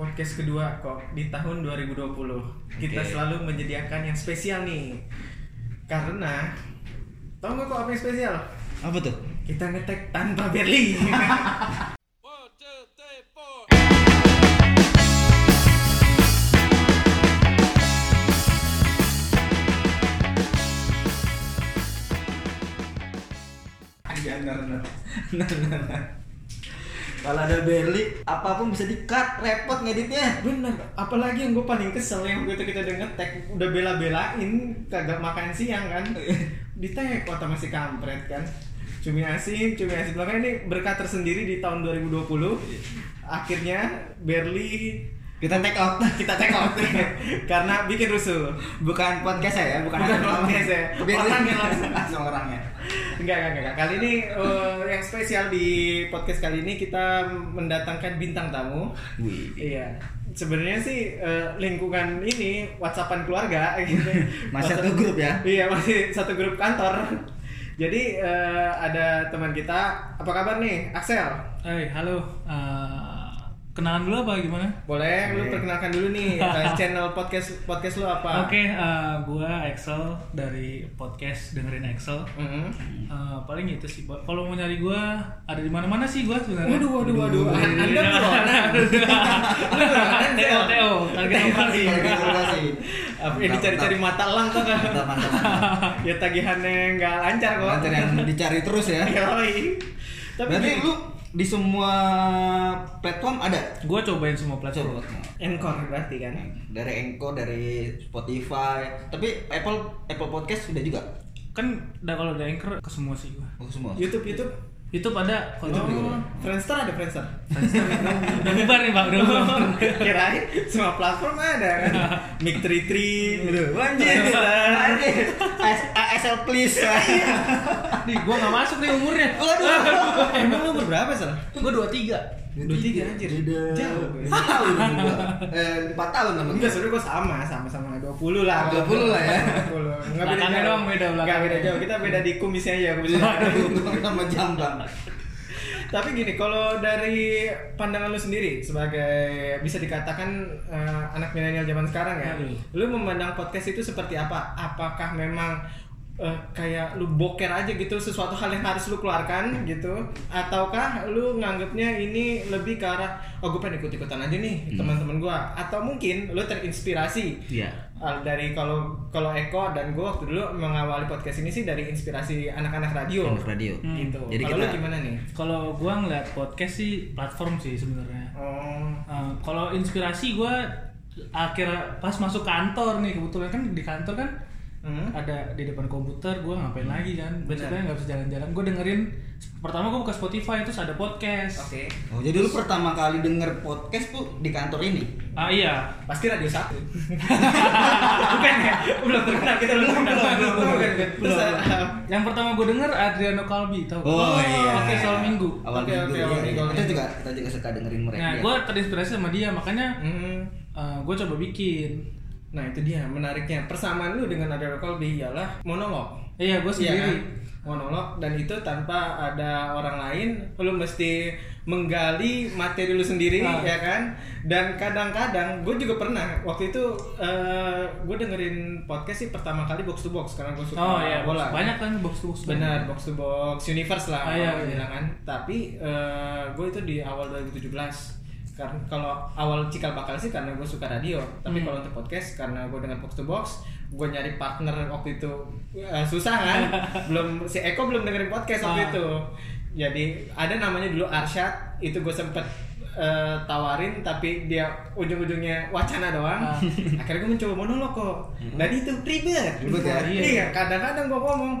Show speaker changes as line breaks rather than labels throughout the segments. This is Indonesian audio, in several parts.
podcast kedua kok di tahun 2020. Kita
Oke.
selalu menyediakan yang spesial nih. Karena tau nggak kok apa yang spesial?
Apa tuh?
Kita ngetek tanpa Berli. Iya,
Kalau ada Berli, apapun bisa di-cut, repot ngeditnya.
Bener. Apalagi yang gue paling kesel yang waktu itu kita udah ngetek udah bela-belain kagak makan siang kan.
Iya.
Ditek kota masih kampret kan. Cumi asin, cumi asin. Makanya ini berkat tersendiri di tahun 2020. Akhirnya Berli
Iya. Kita take out.
kita take out karena bikin rusuh.
Bukan podcast saya, bukan,
Bukan
orang.
podcast saya.
Biar-
Orangnya langsung.
langsung orangnya.
Enggak, enggak, enggak. Kali ini eh, yang spesial di podcast kali ini kita mendatangkan bintang tamu.
Wih.
Iya. Sebenarnya sih eh, lingkungan ini WhatsAppan keluarga gitu.
Masih
WhatsApp-
satu grup ya?
Iya, masih satu grup kantor. Jadi eh, ada teman kita, apa kabar nih? Axel.
Hai, halo. Eh, kenalan dulu apa gimana?
Boleh lu perkenalkan dulu nih eh, channel podcast podcast lu apa?
Oke, eh, gua Excel dari podcast dengerin Excel.
Mhm.
Eh, paling itu sih. Bo. Kalau mau nyari gua ada di mana-mana sih gua sebenarnya.
Waduh, waduh, waduh.
Waduh.
Anda buronan. Lu buronan,
TO,
Axel.
TO, target
Iya,
operasi.
Target operasi.
Iya. Apa ini dicari-cari mata lang tuh kan?
iya. Mantap, mantap, mantap.
ya tagihannya nggak lancar kok.
Lancar yang dicari terus ya.
Iya. Yoi. Tapi
Berarti
gini,
lu di semua platform ada?
Gua cobain semua platform.
Coba.
encore berarti kan?
Dari Enko, dari Spotify, tapi Apple Apple Podcast sudah juga.
Kan udah kalau ada anchor ke semua sih gua.
Oh, semua.
YouTube YouTube.
YouTube ada
Oh,
kalau YouTube.
Friendster ada Friendster.
Udah bubar nih, Bang. Udah bubar.
Kirain semua platform ada kan. Mic 33 gitu.
Anjir, anjir. AS- ASL please.
Iya.
Nih, gua enggak masuk nih umurnya.
Waduh. Emang lu berapa, Sal?
Gua 23.
Dua tiga anjir.
Beda.
Jauh. gue.
Tahun gua. Eh, 4 tahun sama
Enggak,
gua.
sebenernya gue sama, sama-sama 20 lah
20 lah ya.
20 Nggak
Belakangnya
jauh.
doang beda,
Nggak
belakangnya.
beda jauh, kita beda di kumisnya aja kumisnya.
Untung sama jambang.
Tapi gini, kalau dari pandangan lu sendiri sebagai bisa dikatakan eh, anak milenial zaman sekarang ya
Hmm.
Aduh.
Lu memandang podcast itu seperti apa? Apakah memang eh, kayak lu boker aja gitu sesuatu hal yang harus lu keluarkan gitu ataukah lu nganggapnya ini lebih ke arah oh gue pengen ikut-ikutan aja nih
Hmm.
teman-teman gua atau mungkin lu terinspirasi
Iya.
Ah, dari kalau kalau Eko dan gue waktu dulu mengawali podcast ini sih dari inspirasi anak-anak radio
Anak radio.
Hmm.
gitu.
Jadi
kalau
kita-
lu gimana nih?
Kalau gua ngeliat podcast sih platform sih sebenarnya.
Oh,
Uh, kalau inspirasi gue akhir pas masuk kantor nih kebetulan kan di kantor kan
hmm?
ada di depan komputer gue ngapain lagi kan
Benar.
biasanya nggak bisa jalan-jalan gue dengerin pertama gue buka Spotify terus ada podcast
oke.
Oh, jadi lu pertama kali denger podcast tuh di kantor ini?
ah iya
Pasti radio satu.
bukan ya belum terkenal kita belum terkenal
belum, belum, belum.
Bukan, bukan.
Terus,
Belum.
uh,
yang pertama gue denger Adriano Kalbi tau
Oh,
Oh,
Oh,
iya.
iya.
oke soal minggu
Awal
Oke,
minggu.
oke,
iya,
awal
iya.
minggu, awal
Kita
minggu.
juga kita juga suka dengerin mereka.
nah
ya.
gue terinspirasi sama dia makanya
Hmm.
gue coba bikin
Nah itu dia menariknya persamaan lu dengan Adele Colby ialah monolog.
iya
Iya
gue
kan?
sendiri
monolog dan itu tanpa ada orang lain lu mesti menggali materi lu sendiri
Ah.
ya kan dan kadang-kadang gue juga pernah waktu itu gue dengerin podcast sih pertama kali box to box karena gue suka
oh iya
bola
banyak kan box to box
benar box to box universe lah
Ah, iya,
orang
iya.
bilang kan tapi gue itu di awal 2017 karena kalau awal cikal bakal sih karena gue suka radio tapi
Hmm.
kalau untuk podcast karena gue dengan box to box gue nyari partner waktu itu eh, susah kan belum si Eko belum dengerin podcast waktu
Ah.
itu jadi ada namanya dulu Arsyad itu gue sempet eh, tawarin tapi dia ujung-ujungnya wacana doang
Ah.
akhirnya gue mencoba monolog kok dan itu ribet
Ribet ya?
iya,
Iya.
kadang-kadang gue ngomong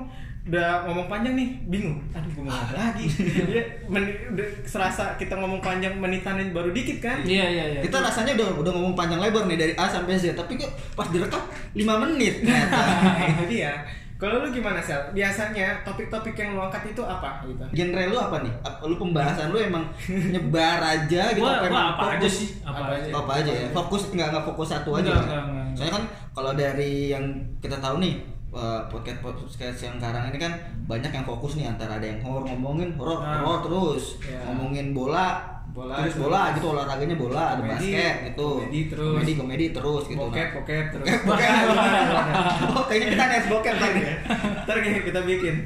udah ngomong panjang nih bingung aduh gue mau ngomong lagi Iya, meni- udah serasa kita ngomong panjang menitannya baru dikit kan
iya iya iya
Kita rasanya udah udah ngomong panjang lebar nih dari A sampai Z, tapi kok pas direkam 5 menit ternyata.
Nah, itu dia kalau lu gimana sel biasanya topik-topik yang lu angkat itu apa gitu
Genre lu apa nih? Apa- Lu pembahasan lu emang nyebar aja gitu
Gua- gua
emang
apa aja sih, apa aja.
Apa aja ya? Fokus nggak nggak fokus satu aja.
Nggak,
ya?
nggak, nggak, nggak.
Soalnya kan kalau dari yang kita tahu nih eh, podcast podcast yang sekarang ini kan banyak yang fokus nih antara ada yang horor ngomongin horor
Nah.
horor terus
Iya.
ngomongin bola
Bola,
terus
terus.
bola gitu olahraganya bola ada
Komedi,
basket gitu
komedi terus.
komedi komedi terus gitu
Bokep,
Nah.
bokep terus.
Bokep, bokep. oh kayaknya kita next bokep tadi
Ntar gini, kita bikin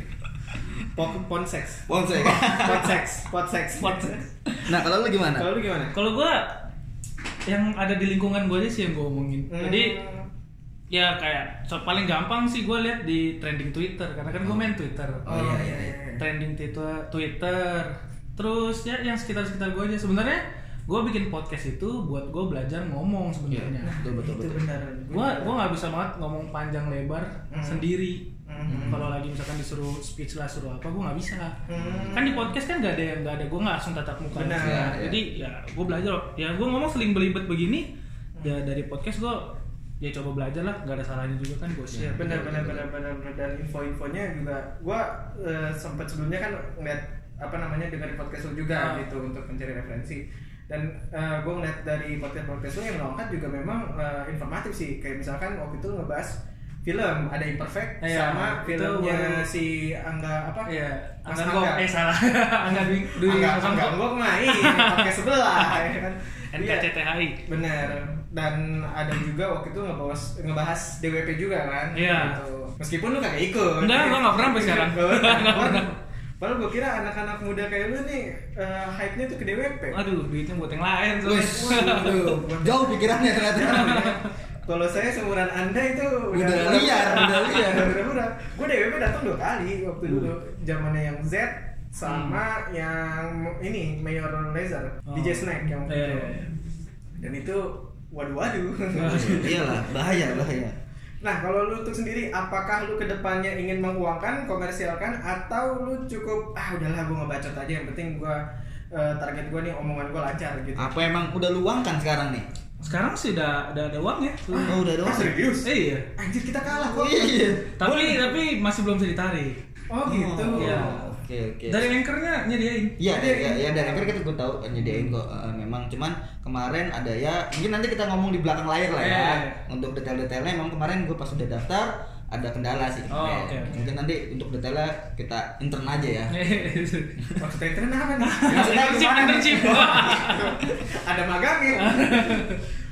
Pok- ponseks.
Ponce
Podseks, podseks, podseks.
nah kalau lu gimana
Kalau lu gimana?
Kalau gua yang ada di lingkungan gua aja sih yang gua omongin.
Hmm.
Hmm.
Jadi ya kayak so, paling gampang sih gua lihat di trending Twitter karena kan gua main Twitter.
Oh, iya, iya, iya.
Trending Twitter, Twitter. Terus ya yang sekitar-sekitar gua aja sebenarnya gua bikin podcast itu buat gua belajar ngomong sebenarnya.
betul betul
Itu
betul
benar.
Gua gua nggak bisa banget ngomong panjang lebar
Hmm.
sendiri. Kalau lagi misalkan disuruh speech lah suruh apa gua nggak bisa.
Hmm.
Kan di podcast kan nggak ada yang nggak ada gua nggak langsung tatap muka.
Benar, Iya.
langsung.
ya, ya.
Jadi ya gua belajar ya gua ngomong seling belibet begini
Hmm.
ya dari podcast gua ya coba belajar lah nggak ada salahnya juga kan gua share.
Iya, benar benar benar benar benar. dan info-infonya juga gua eh, sempat sebelumnya kan ngeliat apa namanya dengerin podcast lu juga
Ah.
gitu untuk mencari referensi dan eh, gua ngeliat dari podcast podcast lu yang lo angkat juga memang eh, informatif sih kayak misalkan waktu itu ngebahas film ada imperfect
Iya,
sama
itu
filmnya
baru-
si angga apa
Iya,
Mas
angga gua
Angga.
eh salah. angga Dwi Dwi
angga angga
Sasongko.
gua main podcast sebelah ya kan Iya.
NKCTHI.
Bener. Dan ada juga waktu itu ngebahas ngebahas DWP juga kan.
Iya.
Gitu. Meskipun lu kagak ikut.
Enggak, gua nggak pernah sampai sekarang.
Nggak pernah.
Nggak pernah.
Padahal gue kira anak-anak muda kayak lu nih eh, hype-nya tuh ke DWP.
Aduh, duitnya buat yang lain
Wes,
soalnya.
aduh, jauh pikirannya ternyata
Kalau saya seumuran Anda itu
Udah liar, udah liar.
Udah udah. Gue DWP datang dua kali waktu dulu. Zamannya yang Z sama yang ini Mayor Laser,
Hmm. Oh.
DJ Snack yang waktu
Iya,
itu.
iya, iya.
Dan itu waduh-waduh.
iyalah Iya bahaya bahaya
Nah, kalau lu tuh sendiri, apakah lu kedepannya ingin menguangkan, komersialkan, atau lu cukup ah udahlah gue ngebacot aja yang penting gua eh, target gua nih omongan gua lancar gitu.
apa emang udah luangkan sekarang nih
Sekarang sih udah udah ada uang ya.
oh udah
Ah,
doang
serius?
Eh, iya.
Anjir kita kalah kok.
oh iya
Tapi tapi masih belum bisa ditarik.
Oh gitu.
iya.
oke oke
Dari anchornya nyediain.
Iya, ya, ya, ya dan akhirnya kita gue tahu eh, nyediain kok eh, memang cuman kemarin ada ya mungkin nanti kita ngomong di belakang layar lah ya
Iya, iya.
untuk detail-detailnya emang kemarin gue pas udah daftar ada kendala sih
Oh,
Eh,
oke, Iya. oke.
mungkin nanti untuk detailnya kita intern aja ya
Maksudnya tren apa nih?
Maksudnya
Internship,
gimana nih?
internship.
Ada magang ya.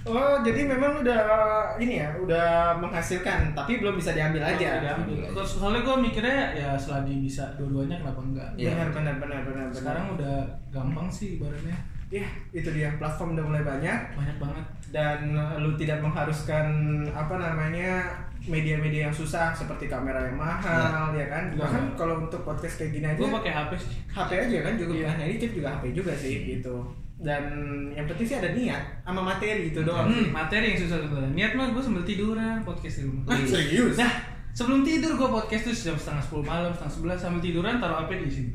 Oh, jadi memang udah ini ya, udah menghasilkan, tapi belum bisa diambil aja.
Iya.
Terus soalnya gue mikirnya ya selagi bisa dua-duanya kenapa enggak?
Iya.
Benar, benar, benar, benar, benar.
Sekarang udah gampang sih ibaratnya
ya itu dia platform udah mulai banyak.
banyak banget.
dan lu tidak mengharuskan apa namanya media-media yang susah seperti kamera yang mahal ya kan
Iya.
bahkan kalau untuk podcast kayak gini aja
Gue pakai HP sih.
HP aja kan juga
Iya.
bukan hanya edit juga HP juga sih gitu dan yang penting sih ada niat sama materi gitu doang
Hmm, materi yang susah sebenarnya. Niat mah gue sambil tiduran podcast di rumah.
Hah,
Iya.
serius
Nah, sebelum tidur gue podcast tuh jam setengah sepuluh malam, setengah sebelas sambil tiduran taruh HP di sini.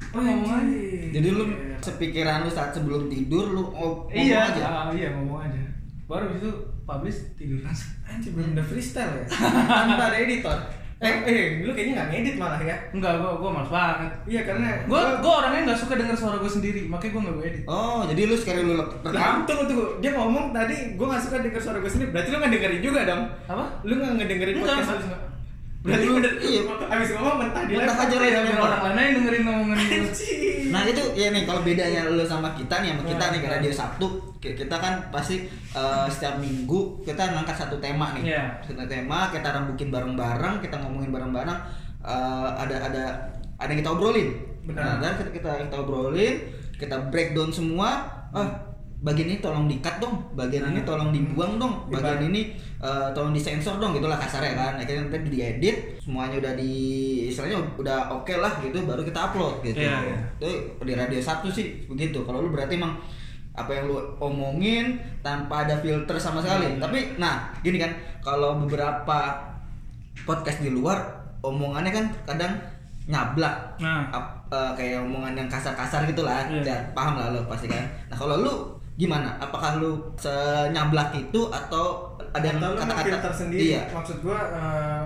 oh,
ngomong aja.
anjir.
jadi lu
Iya.
sepikiran lu saat sebelum tidur lu ngom- ngomong
Iya,
aja
ah, iya ngomong aja. Baru habis itu publish tidur langsung.
anjir belum udah freestyle ya tanpa ada editor eh eh lu kayaknya nggak ngedit malah ya
Enggak, gue gue malas banget.
iya karena
Gue gue orangnya nggak suka denger suara gue sendiri, makanya gue nggak gue edit.
oh jadi lu sekali lu
Lah,
rekam
tunggu tunggu. Dia ngomong tadi gue gak suka denger suara gue sendiri. Berarti lu gak dengerin juga dong?
Apa?
Lu gak ngedengerin
Enggak,
podcast lu?
enggak.
Berarti
Lu-
udah
iya.
Abis ngomong mentah di
Mentah aja, Ray.
Biar orang lain aja dengerin omongan gue.
Anjing.
Nah itu ya nih kalau bedanya lo sama kita nih sama kita
Nah,
nih ke Radio Sabtu ki- kita kan pasti eh, setiap minggu kita ngangkat satu tema nih
Iya.
satu tema kita rembukin bareng-bareng kita ngomongin bareng-bareng eh, ada ada ada yang kita obrolin
Benar.
Nah, dan kita, kita kita obrolin kita breakdown semua ah bagian ini tolong dikat dong bagian
Nah.
ini tolong dibuang dong
Iya,
bagian ini eh, tolong disensor dong gitulah kasarnya kan akhirnya nanti diedit semuanya udah di istilahnya udah oke lah gitu baru kita upload gitu
Iya, iya.
itu di radio satu sih begitu kalau lu berarti emang apa yang lu omongin tanpa ada filter sama sekali tapi nah gini kan kalau beberapa podcast di luar omongannya kan kadang nyablak
Nah.
Ap- eh, kayak omongan yang kasar-kasar gitu lah
Iya.
Ya, paham lah lo pasti kan nah kalau lu gimana apakah lu senyablak itu atau ada yang
Atau lu
kata-kata
ngefilter sendiri.
iya
Maksud gue eh,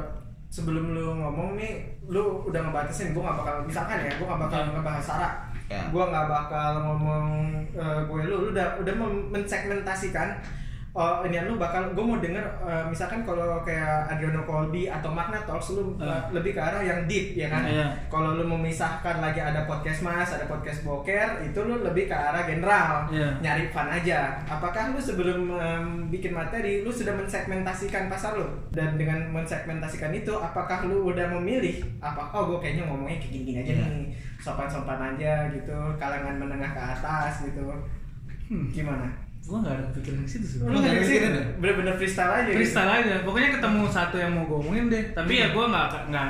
sebelum lu ngomong nih, lu udah ngebatasin gue gak bakal misalkan ya, gue gak bakal
Iya.
Hmm.
ngebahas Sarah.
Ya.
Gue gak bakal ngomong eh, gue lu, lu udah udah mem- mensegmentasikan eh ini lu bakal gue mau denger eh, misalkan kalau kayak Adriano Colby atau Magna Talks lu eh,
Ah.
lebih ke arah yang deep ya kan
Iya.
kalau lu memisahkan lagi ada podcast mas ada podcast boker itu lu lebih ke arah general
Iya.
nyari fun aja apakah lu sebelum em, bikin materi lu sudah mensegmentasikan pasar lu dan dengan mensegmentasikan itu apakah lu udah memilih apa oh gue kayaknya ngomongnya kayak gini-gini aja
Iya.
nih sopan-sopan aja gitu kalangan menengah ke atas gitu
Hmm.
gimana
Gua nggak ada pikiran ke situ sih.
lu
nggak
nggak sih
mikirin ya?
bener-bener freestyle aja gitu?
Freestyle aja. Pokoknya ketemu satu yang mau gue omongin deh. Tapi ya gue nggak nggak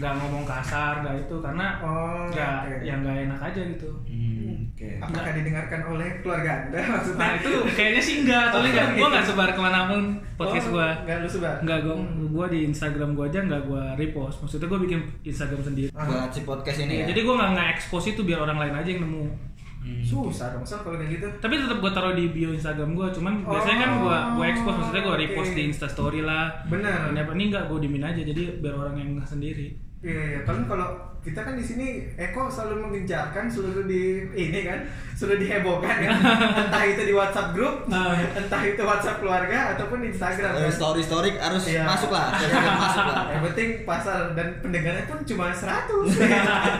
nggak ngomong kasar nggak itu karena
oh
nggak
oke.
yang nggak enak aja gitu.
Hmm, oke.
apakah didengarkan oleh keluarga anda maksudnya
Nah itu kayaknya sih enggak, tapi
Oh,
enggak,
gitu.
gue nggak sebar kemanapun podcast
Oh,
gue.
nggak lu sebar
Enggak gue, gue di Instagram gue aja nggak gue repost. Maksudnya gue bikin Instagram sendiri.
Ah.
Buat si podcast ini ya.
Iya, Jadi gue nggak nggak expose itu biar orang lain aja yang nemu.
Hmm.
susah dong Sal, kalau kayak gitu
Tapi tetap gue taruh di bio Instagram gue. Cuman
Oh,
biasanya kan gue gue expose, maksudnya gue
oke.
repost di Insta Story lah.
Bener.
Ini apa ini enggak gue dimin aja. Jadi biar orang yang ngeh sendiri.
Iya, iya. Kalau kalau kita kan di sini Eko selalu mengejarkan, selalu di ini kan, selalu dihebohkan ya. entah itu di WhatsApp grup,
Ah.
entah itu WhatsApp keluarga ataupun di Instagram.
Eh,
Kan?
story story harus
Iya.
masuk lah, Harus masuk lah.
Yang penting pasar dan pendengarnya pun cuma 100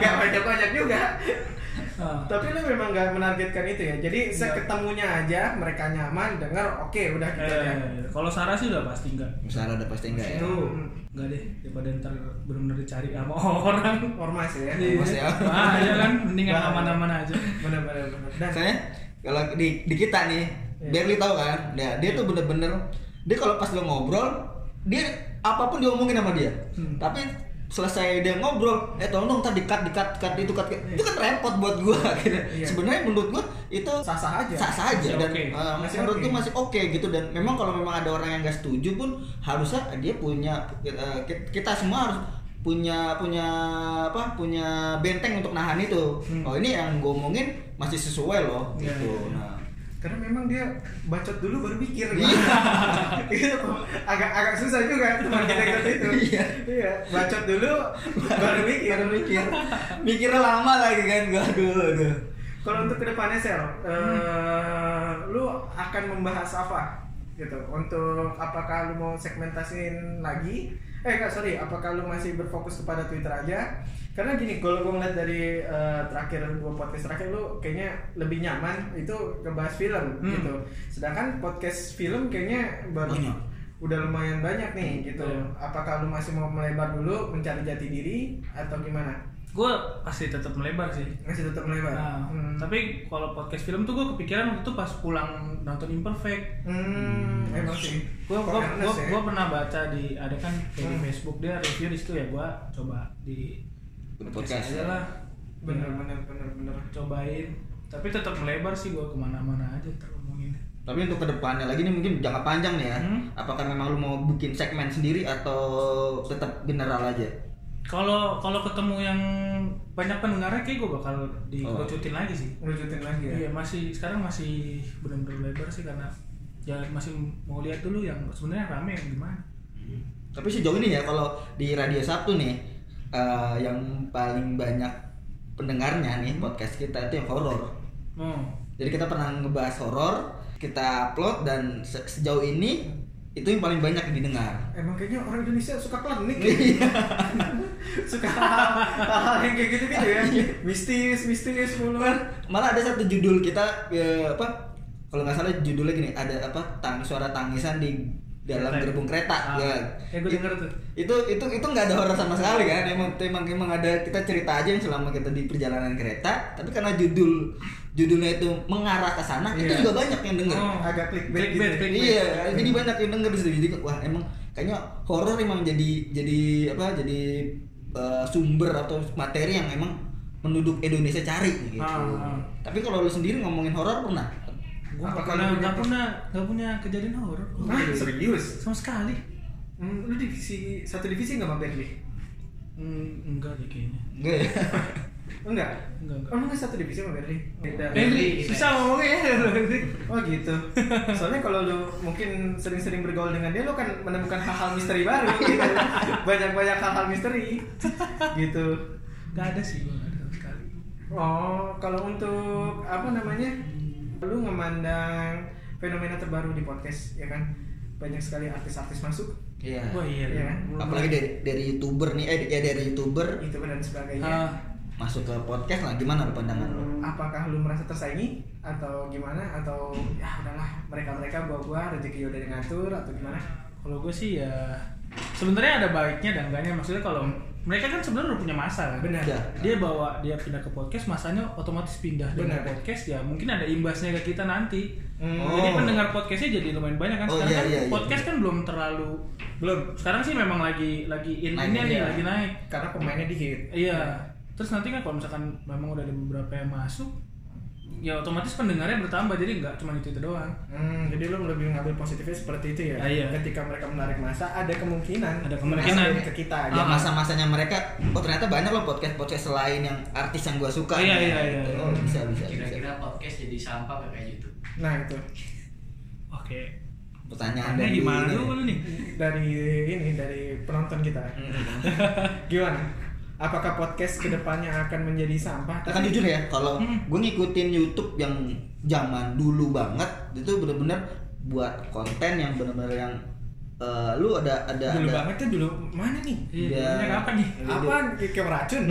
Gak banyak-banyak juga
Ah. Iya.
Tapi lu memang gak menargetkan itu ya Jadi seketemunya aja mereka nyaman dengar oke udah gitu
Eh,
ya
kalau Sarah sih udah pasti enggak.
Misalnya ada pasti enggak ya?
Iya.
Itu enggak deh daripada ntar benar-benar dicari sama orang.
Ormas ya
Iya.
Mas ya.
Ah, iya kan mendingan aman-aman aja.
Bener-bener bener. Dan
Saya kalau di, di kita nih,
Iya.
Berli tahu kan? Nah, dia tuh bener-bener dia kalau pas lo ngobrol, dia apapun diomongin sama dia.
Hmm.
Tapi selesai dia ngobrol, eh tolong dong tadi cut, di cut, cut, itu cut, cut. itu kan repot buat gua. akhirnya.
Iya.
Sebenarnya menurut gua itu
Sah-sah aja.
sah-sah aja
Masih
dan
oke.
eh,
Masih
menurut
oke.
gua masih oke gitu dan memang kalau memang ada orang yang gak setuju pun harusnya dia punya eh, ki- kita semua harus punya punya apa punya benteng untuk nahan itu
Hmm.
oh ini yang gue omongin masih sesuai loh
Iya,
gitu
iya.
nah
karena memang dia bacot dulu baru pikir
Iya.
Itu agak agak susah juga teman kita yang satu itu
Iya.
iya bacot dulu baru mikir
baru mikir Nah, mikirnya lama lagi kan gue aduh aduh
kalau untuk kedepannya sel eh, lu akan membahas apa gitu untuk apakah lu mau segmentasiin lagi eh enggak sorry apakah lu masih berfokus kepada twitter aja karena gini kalau gue ngeliat dari eh, terakhir dua podcast terakhir lu kayaknya lebih nyaman itu ngebahas film
Hmm.
gitu sedangkan podcast film kayaknya baru
Banyak.
udah lumayan banyak nih gitu
Iya.
apakah lu masih mau melebar dulu mencari jati diri atau gimana
Gue pasti tetap melebar sih.
masih tetap melebar
Nah,
Hmm.
tapi kalau podcast film tuh gue kepikiran waktu itu pas pulang nonton Imperfect.
Hmm, emang sih.
Gue gua,
Awareness
gua,
ya.
gua pernah baca di ada kan kayak di
Hmm.
Facebook dia review di situ ya gue coba di
Di podcast ya.
aja lah. Ya,
bener
Iya.
bener bener bener.
Cobain. Tapi tetap melebar sih gue kemana-mana aja teromongin.
tapi untuk kedepannya lagi nih mungkin jangka panjang nih ya
Hmm.
apakah memang lu mau bikin segmen sendiri atau tetap general aja
Kalau kalau ketemu yang banyak pendengarnya kayak gue bakal dikerucutin lagi sih.
Lanjutin lagi ya.
Iya masih sekarang masih benar-benar lebar sih karena ya masih mau lihat dulu yang sebenarnya rame yang gimana.
Tapi sejauh ini ya kalau di Radio Sabtu nih eh, yang paling banyak pendengarnya nih podcast kita itu yang horor.
Oh.
Jadi kita pernah ngebahas horor, kita upload dan se- sejauh ini itu yang paling banyak didengar.
Emang kayaknya orang Indonesia suka klinik ya.
Iya.
suka hal-hal yang kayak gitu-gitu ya.
Iya.
Mistis, mistis mulu.
Malah ada satu judul kita eh, apa? Kalau nggak salah judulnya gini, ada apa? Tang suara tangisan di dalam
Kereta.
gerbong kereta.
Ah.
ya.
Ya, gue denger tuh.
itu itu itu nggak ada horor sama sekali kan emang emang emang ada kita cerita aja yang selama kita di perjalanan kereta tapi karena judul judulnya itu mengarah ke sana itu
Iya.
juga banyak yang denger
Oh,
Agak clickbait
Clickbait,
gitu.
clickbait.
iya jadi banyak yang denger di situ jadi wah emang kayaknya horor emang jadi jadi apa jadi eh, sumber atau materi yang emang penduduk Indonesia cari gitu
Ah, ah.
tapi kalau lu sendiri ngomongin horor pernah
Gue
Apa
nggak
kalau
pernah
punya-
nggak punya nggak punya kejadian horor.
Hah, serius?
Sama sekali.
Hmm, lu divisi satu divisi nggak sama Berli?
Hmm, enggak deh kayaknya.
enggak ya
Enggak.
Enggak, enggak.
Oh, lu nggak satu divisi sama Berli? Beda.
Berli,
susah ngomongnya ya. oh gitu. Soalnya kalau lu mungkin sering-sering bergaul dengan dia, lu kan menemukan hal-hal misteri baru. gitu. Banyak-banyak hal-hal misteri. Gitu.
Enggak ada sih gue ada sama sekali.
Oh, kalau untuk apa namanya? Lu memandang fenomena terbaru di podcast ya kan banyak sekali artis-artis masuk
Iya.
Wah iya.
Iya.
Apalagi dari dari youtuber nih, eh ya dari youtuber
itu Gitu, dan
Iya.
sebagainya
Ah,
masuk ke podcast lah gimana lu pandangan lu?
apakah lu merasa tersaingi atau gimana atau ya udahlah mereka mereka gua gua rezeki udah ngatur atau gimana
kalau gue sih ya sebenarnya ada baiknya dan enggaknya maksudnya kalau mereka kan sebenarnya udah punya masa kan.
benar
Udah.
Dia bawa dia pindah ke podcast, masanya otomatis pindah dari
Benar.
podcast ya mungkin ada imbasnya ke kita nanti.
Hmm,
Oh.
Jadi pendengar podcastnya jadi lumayan banyak kan.
Oh,
Sekarang
iya,
kan
iya, iya.
podcast kan belum terlalu
belum
sekarang sih memang lagi lagi in
Naik,
ini nih
iya.
lagi naik.
karena pemainnya dikit
Iya. Terus nanti kan kalau misalkan memang udah ada beberapa yang masuk, ya otomatis pendengarnya bertambah jadi nggak cuma itu itu doang.
Hmm, jadi lu lebih ngambil positifnya seperti itu ya.
Ah, iya.
Ketika mereka menarik masa, ada kemungkinan.
Ada kemungkinan.
masuk ke kita aja.
Ya
Ah.
masa-masanya mereka, oh ternyata banyak loh podcast-podcast selain yang artis yang gua suka.
Iya, iya, iya,
Gitu.
iya.
Oh, bisa bisa bisa.
Kira-kira podcast jadi sampah nggak kayak YouTube?
Nah itu
Oke.
Pertanyaan
Anda
Nah, dari
gimana
ini.
lu nih?
dari ini dari penonton kita. Hmm. Gimana? Apakah podcast kedepannya akan menjadi sampah?
Kan
Tapi-
jujur ya, kalau
Hmm.
gue ngikutin YouTube yang zaman dulu banget, itu bener-bener buat konten yang bener-bener yang eh, lu ada ada
dulu banget
ada
tuh dulu mana nih?
Iya,
Udah.
banyak apa nih?
Apaan? Kayak kayak racun.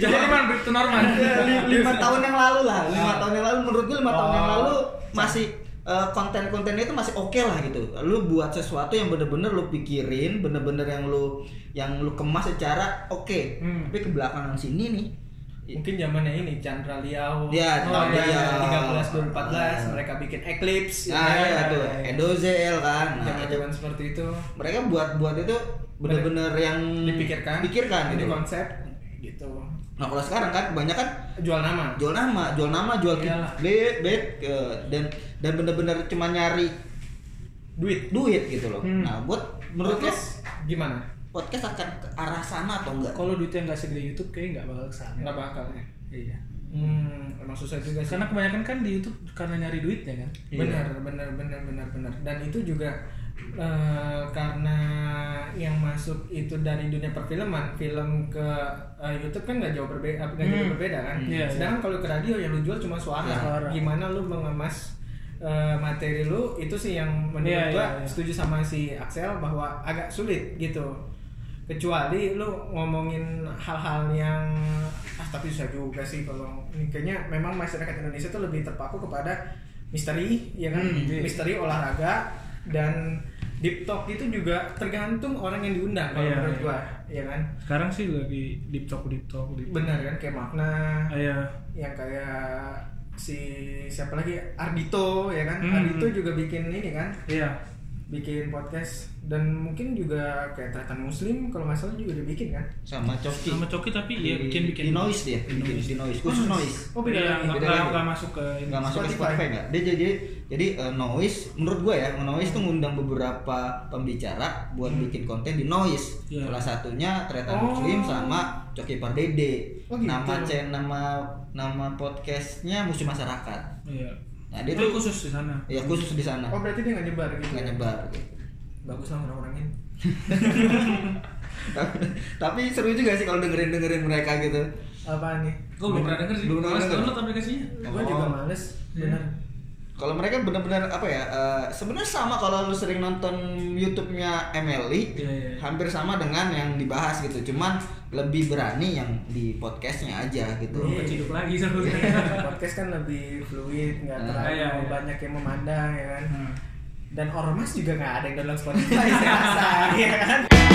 Jadi man Bripto Norman.
Ya,
Iya,
li- lima tahun yang lalu lah lima
Ah.
tahun yang lalu menurut gue lima tahun yang
Oh.
lalu masih eh, konten-kontennya itu masih oke lah gitu lu buat sesuatu yang bener-bener lu pikirin bener-bener yang lu yang lu kemas secara oke
Hmm.
tapi ke belakangan sini nih
Mungkin zamannya ini Chandra Liao.
Iya,
tahun
Chandra
ya,
Liao.
13 2014
Ah.
mereka bikin Eclipse ya
nah
kan?
ya tuh Endozel kan nah, itu.
Zaman-zaman seperti itu
mereka buat buat itu bener-bener yang
Hmm. dipikirkan.
pikirkan
Jadi
gitu.
konsep gitu.
nah kalau sekarang kan kebanyakan
Jual nama.
jual nama jual nama jual kit-
Iyalah.
bet bet eh, dan dan bener-bener cuma nyari
duit
duit gitu loh.
Hmm.
Nah, buat menurut lo
Podcast gimana
podcast akan ke arah sana atau enggak?
Kalau duitnya nggak segede YouTube kayaknya nggak bakal kesana.
nggak bakal ya
Iya.
hmm emang susah juga sih
Karena kebanyakan kan di YouTube karena nyari duitnya kan.
Iya.
benar benar benar benar benar dan itu juga eh, karena yang masuk itu dari dunia perfilman film ke eh, YouTube kan nggak jauh berbeda nggak jauh
Hmm.
berbeda kan
Iya, iya.
sedangkan kalau ke radio yang lu jual cuma suara,
Suara.
gimana lu mengemas eh, materi lu itu sih yang menurut
Iya,
gua
iya, iya.
setuju sama si Axel bahwa agak sulit gitu kecuali lu ngomongin hal-hal yang ah tapi susah juga sih kalau ini kayaknya memang masyarakat Indonesia tuh lebih terpaku kepada misteri ya kan
Hmm, iya.
misteri olahraga dan deep talk itu juga tergantung orang yang diundang kalau
Iya,
menurut
iya.
gua ya kan
Sekarang sih lagi deep talk deep talk deep.
benar kan kayak makna
Iya.
yang kayak si siapa lagi Ardito ya kan
Hmm.
Ardito juga bikin ini kan
Iya.
bikin podcast dan mungkin juga kayak Tretan Muslim kalau nggak salah juga dia bikin kan
Sama Coki.
Sama Coki tapi iya
Di-
bikin bikin.
di noise dia,
Di
bikin
noise.
di noise. Khusus noise.
oh beda
Iya,
lagi.
nggak-
Beda
nggak-
lagi.
nggak masuk ke ini.
Enggak masuk ke
Spotify.
Spotify enggak? Dia jadi jadi eh, noise menurut gue ya, noise tuh ngundang beberapa pembicara buat bikin konten di noise.
Iya.
Salah satunya Tretan
Hmm. Oh.
Muslim sama Coki Pardede.
Oh, gitu.
Nama channel nama nama podcastnya Musuh Masyarakat.
Iya.
Nah, dia
Itu
tuh
khusus di sana.
ya khusus di sana.
Oh berarti dia nggak nyebar gitu?
Nggak nyebar gitu.
Bagus lah orang-orangin.
tapi, tapi seru juga sih kalau dengerin dengerin mereka gitu
Apaan nih?
Gue belum pernah denger sih.
Belum
Belum
pernah
pernah
denger.
download aplikasinya.
Gue
Oh.
juga males.
Iya.
Bener.
kalau mereka benar-benar apa ya eh, sebenarnya sama kalau lu sering nonton YouTube-nya Emily
Iya, iya.
hampir sama dengan yang dibahas gitu cuman lebih berani yang di podcastnya aja gitu
Iya.
Belum keciduk lagi sama
Podcast kan lebih fluid, nggak
Ah,
terlalu
iya, iya.
banyak yang memandang ya kan.
Iya.
Hmm.
Dan ormas juga nggak ada yang download Spotify saya rasa, ya kan?